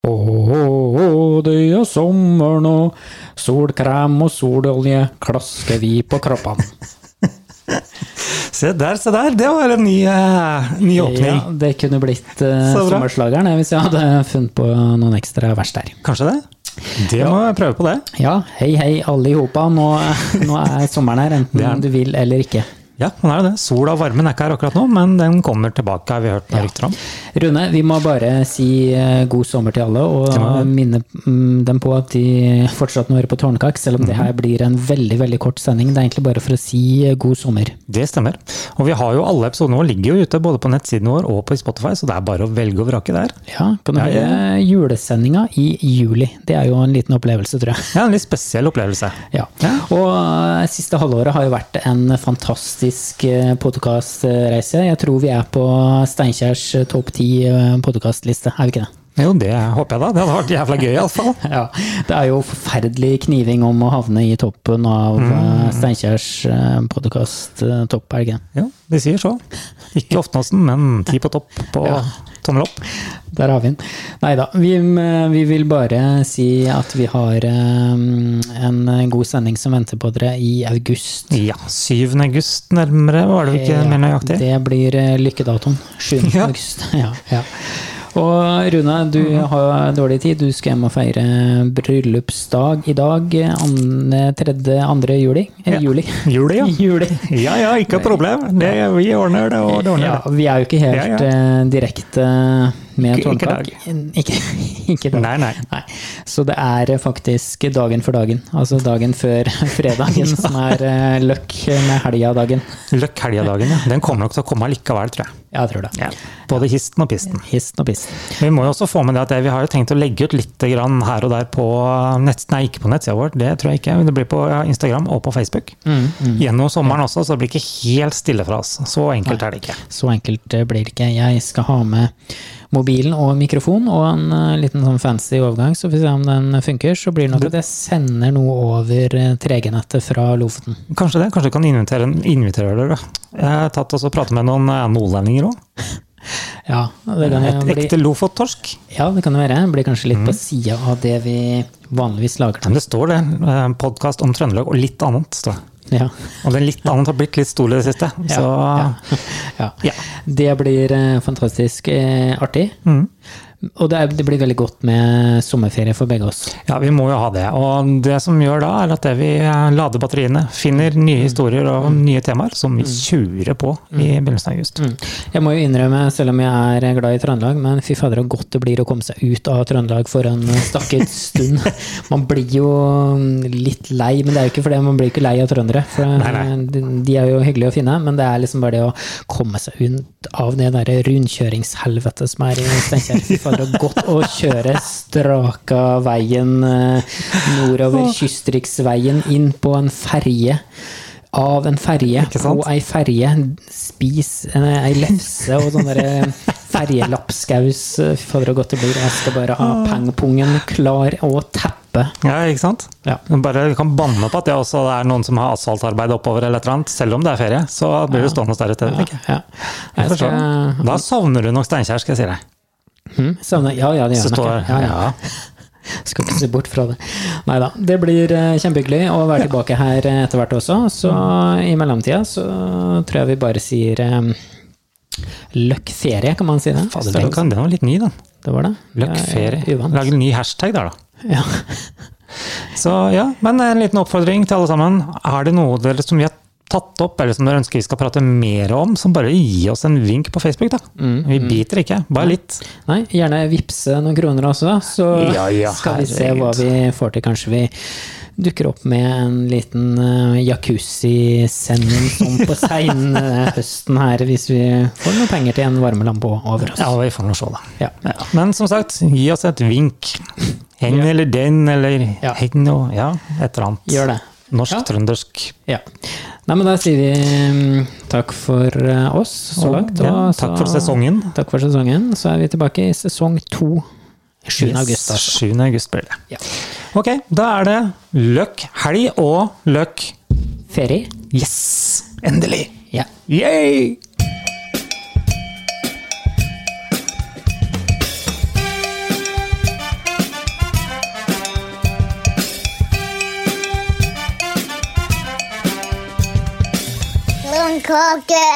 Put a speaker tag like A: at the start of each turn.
A: Å, å, å, det er sommer nå. Solkrem og sololje klasker vi på kroppene.
B: Se der, se der! Det var en ny, eh, ny åpning.
A: Ja, det kunne blitt eh,
B: Så bra.
A: sommerslageren eh, hvis jeg hadde funnet på noen ekstra vers der.
B: Kanskje det? Det må jeg prøve på det.
A: Ja, hei hei alle i hopa, nå, nå er sommeren her, enten du vil eller ikke.
B: Ja, den er jo det. Sola og varmen er ikke her akkurat nå, men den kommer tilbake, har vi hørt noen rykter om.
A: Rune, vi må bare si eh, god sommer til alle, og
B: må vi.
A: minne mm, dem på at de fortsatt må høre på Tårnkakk, selv om det
B: Mhm.
A: her blir en veldig veldig kort sending. Det er egentlig bare for å si eh, god sommer.
B: Det stemmer. Og vi har jo alle episodene våre ligger jo ute, både på nettsiden vår og på Spotify, så det er bare å velge og vrake der.
A: Ja, kan du
B: Ja, ja,
A: høre julesendinga i juli. Det er jo en liten opplevelse, tror jeg.
B: Ja, en litt spesiell opplevelse.
A: Ja. Og eh, siste halvåret har jo vært en fantastisk eh, podkastreise. Jeg tror vi er på Steinkjærs eh, topp ti podkastliste, er vi ikke det?
B: Jo, det håper jeg da. Det hadde vært jævla gøy iallfall.
A: Ja, Det er jo forferdelig kniving om å havne i toppen av eh, Steinkjers podkast-topp, er det ikke?
B: Jo, de sier så. Ikke Oftenåsen, men ti på topp på
A: Ja.
B: tommel opp.
A: Der har vi den. Nei da. Vi, mm, vi vil bare si at vi har eh, en god sending som venter på dere i august.
B: Ja, 7. august nærmere, var det vel ikke mer nøyaktig?
A: Eh, Det blir eh, lykkedatoen. 7.
B: Ja.
A: august. Ja, ja. Og Rune, du
B: Mhm.
A: har dårlig tid. Du skal hjem og feire bryllupsdag i dag. eh, andre- 3. 2. juli. Eh, juli.
B: Juli, ja.
A: juli.
B: Ja ja, ikke et problem. Det, vi ordner det, og det ordner
A: Ja,
B: det.
A: vi er jo ikke helt
B: Ja, ja.
A: eh, direkte med
B: Ikke- ikke
A: tårnkak. Ikke, ikke dag.
B: Nei, nei.
A: Nei. Så det er eh, faktisk dagen for dagen. Altså dagen før fredagen, som er eh, løkk med helga-dagen.
B: Løkk helgedagen, ja. Den kommer nok til å komme likevel, tror jeg.
A: Jeg tror det.
B: Både histen og pisten.
A: Histen og pisten.
B: Vi må jo også få med det at det vi har jo tenkt å legge ut litt grann her og der på nett, nei, ikke på nettsida vår, det tror jeg ikke. men Det blir på Instagram og på Facebook. Gjennom sommeren også, så det blir ikke helt stille fra oss. Så enkelt er det ikke.
A: Så enkelt eh, blir det ikke. Jeg skal ha med mobilen og mikrofon og en eh, liten sånn fancy overgang, så får vi se om den funker. Så blir det nok at jeg sender noe over eh, 3G-nettet fra Lofoten.
B: Kanskje det? Kanskje du kan invitere, invitere dere? Jeg har tatt oss og pratet med noen eh, nordlendinger òg.
A: Ja, det kan
B: Et
A: jo bli
B: Eh, ekte Mhm. lofottorsk.
A: Ja, det kan det være. Blir kanskje litt på sida av det vi vanligvis lager.
B: Men det står det. Podkast om Trøndelag og litt annet. står det.
A: Ja.
B: Og den litt annet har blitt litt stor i det siste. Så
A: ja.
B: ja.
A: Det blir eh, fantastisk eh, artig.
B: Mhm.
A: Og det, er, det blir veldig godt med sommerferie for begge oss.
B: Ja, vi må jo ha det. Og det som gjør da, er at det vi eh, lader batteriene, finner
A: Mm.
B: nye historier og nye temaer som vi tjurer på i begynnelsen av august.
A: Mm. Jeg må jo innrømme, selv om jeg er glad i Trøndelag, men fy fader så godt det blir å komme seg ut av Trøndelag for en stakket stund. Man blir jo mm, litt lei, men det er jo ikke fordi man blir ikke lei av trøndere. For eh, De, de er jo hyggelige å finne, men det er liksom bare det å komme seg ut av det derre rundkjøringshelvetet som er i Steinkjer. Fy fader så godt å kjøre straka veien eh, nordover Kystriksveien inn på en ferje. Av en ferje
B: Ikke sant?
A: på ei ferje, spis eh, ei lefse og sånn derre ferjelappskaus. Fy fader, så godt det blir. Jeg skal bare ha
B: Ah.
A: pengpungen klar og teppe.
B: Ja, ikke sant?
A: Ja.
B: Bare vi kan banne på at det også er noen som har asfaltarbeid oppover, eller et eller annet, selv om det er ferie. Så blir du stående der et sted. tenker jeg.
A: Ja. Jeg
B: Jeg forstår.
A: skal
B: Da sovner du nok Steinkjer, skal jeg si deg.
A: hm, savne Ja, ja, det gjør
B: Så
A: jeg
B: står
A: nok. Ja, ja. Skal ikke se bort fra det. Nei da. Det blir eh, kjempehyggelig å være tilbake her eh, etter hvert også. Så
B: Mm.
A: i mellomtida så tror jeg vi bare sier eh, løkkferie, kan man si det?
B: Fader, den, kan, den var litt ny, den.
A: Det var det.
B: Løkkferie.
A: Jeg er Uvant.
B: Lag en ny hashtag der, da.
A: Ja.
B: Så ja, men en liten oppfordring til alle sammen. Er det noe dere som vi har tatt opp, eller som dere ønsker vi skal prate mer om, så bare gi oss en vink på Facebook, da.
A: Mm.
B: vi biter ikke, bare litt.
A: Nei, gjerne vippse noen kroner også, da, så
B: Ja, ja,
A: skal vi se hva vi får til. Kanskje vi dukker opp med en liten uh, jacuzzi-sending sånn på seinhøsten her, hvis vi får noen penger til en varmelampe over oss.
B: Ja, vi får nå se, da.
A: Ja.
B: Men som sagt, gi oss et vink. Hen eller den, eller
A: Ja.
B: hen og ja, et eller annet.
A: Gjør det. Ja.
B: Norsk-trøndersk.
A: Ja. Nei, men da sier vi mm, takk for eh, oss så langt. og
B: Ja, takk for
A: så-
B: sesongen.
A: Takk for sesongen. Så er vi tilbake i sesong to 7.
B: Yes,
A: august. Altså.
B: 7. august blir det.
A: Ja.
B: Ok, da er det løk helg og løk
A: Ferie?
B: Yes! Endelig!
A: Ja.
B: Yay!
C: pannekake.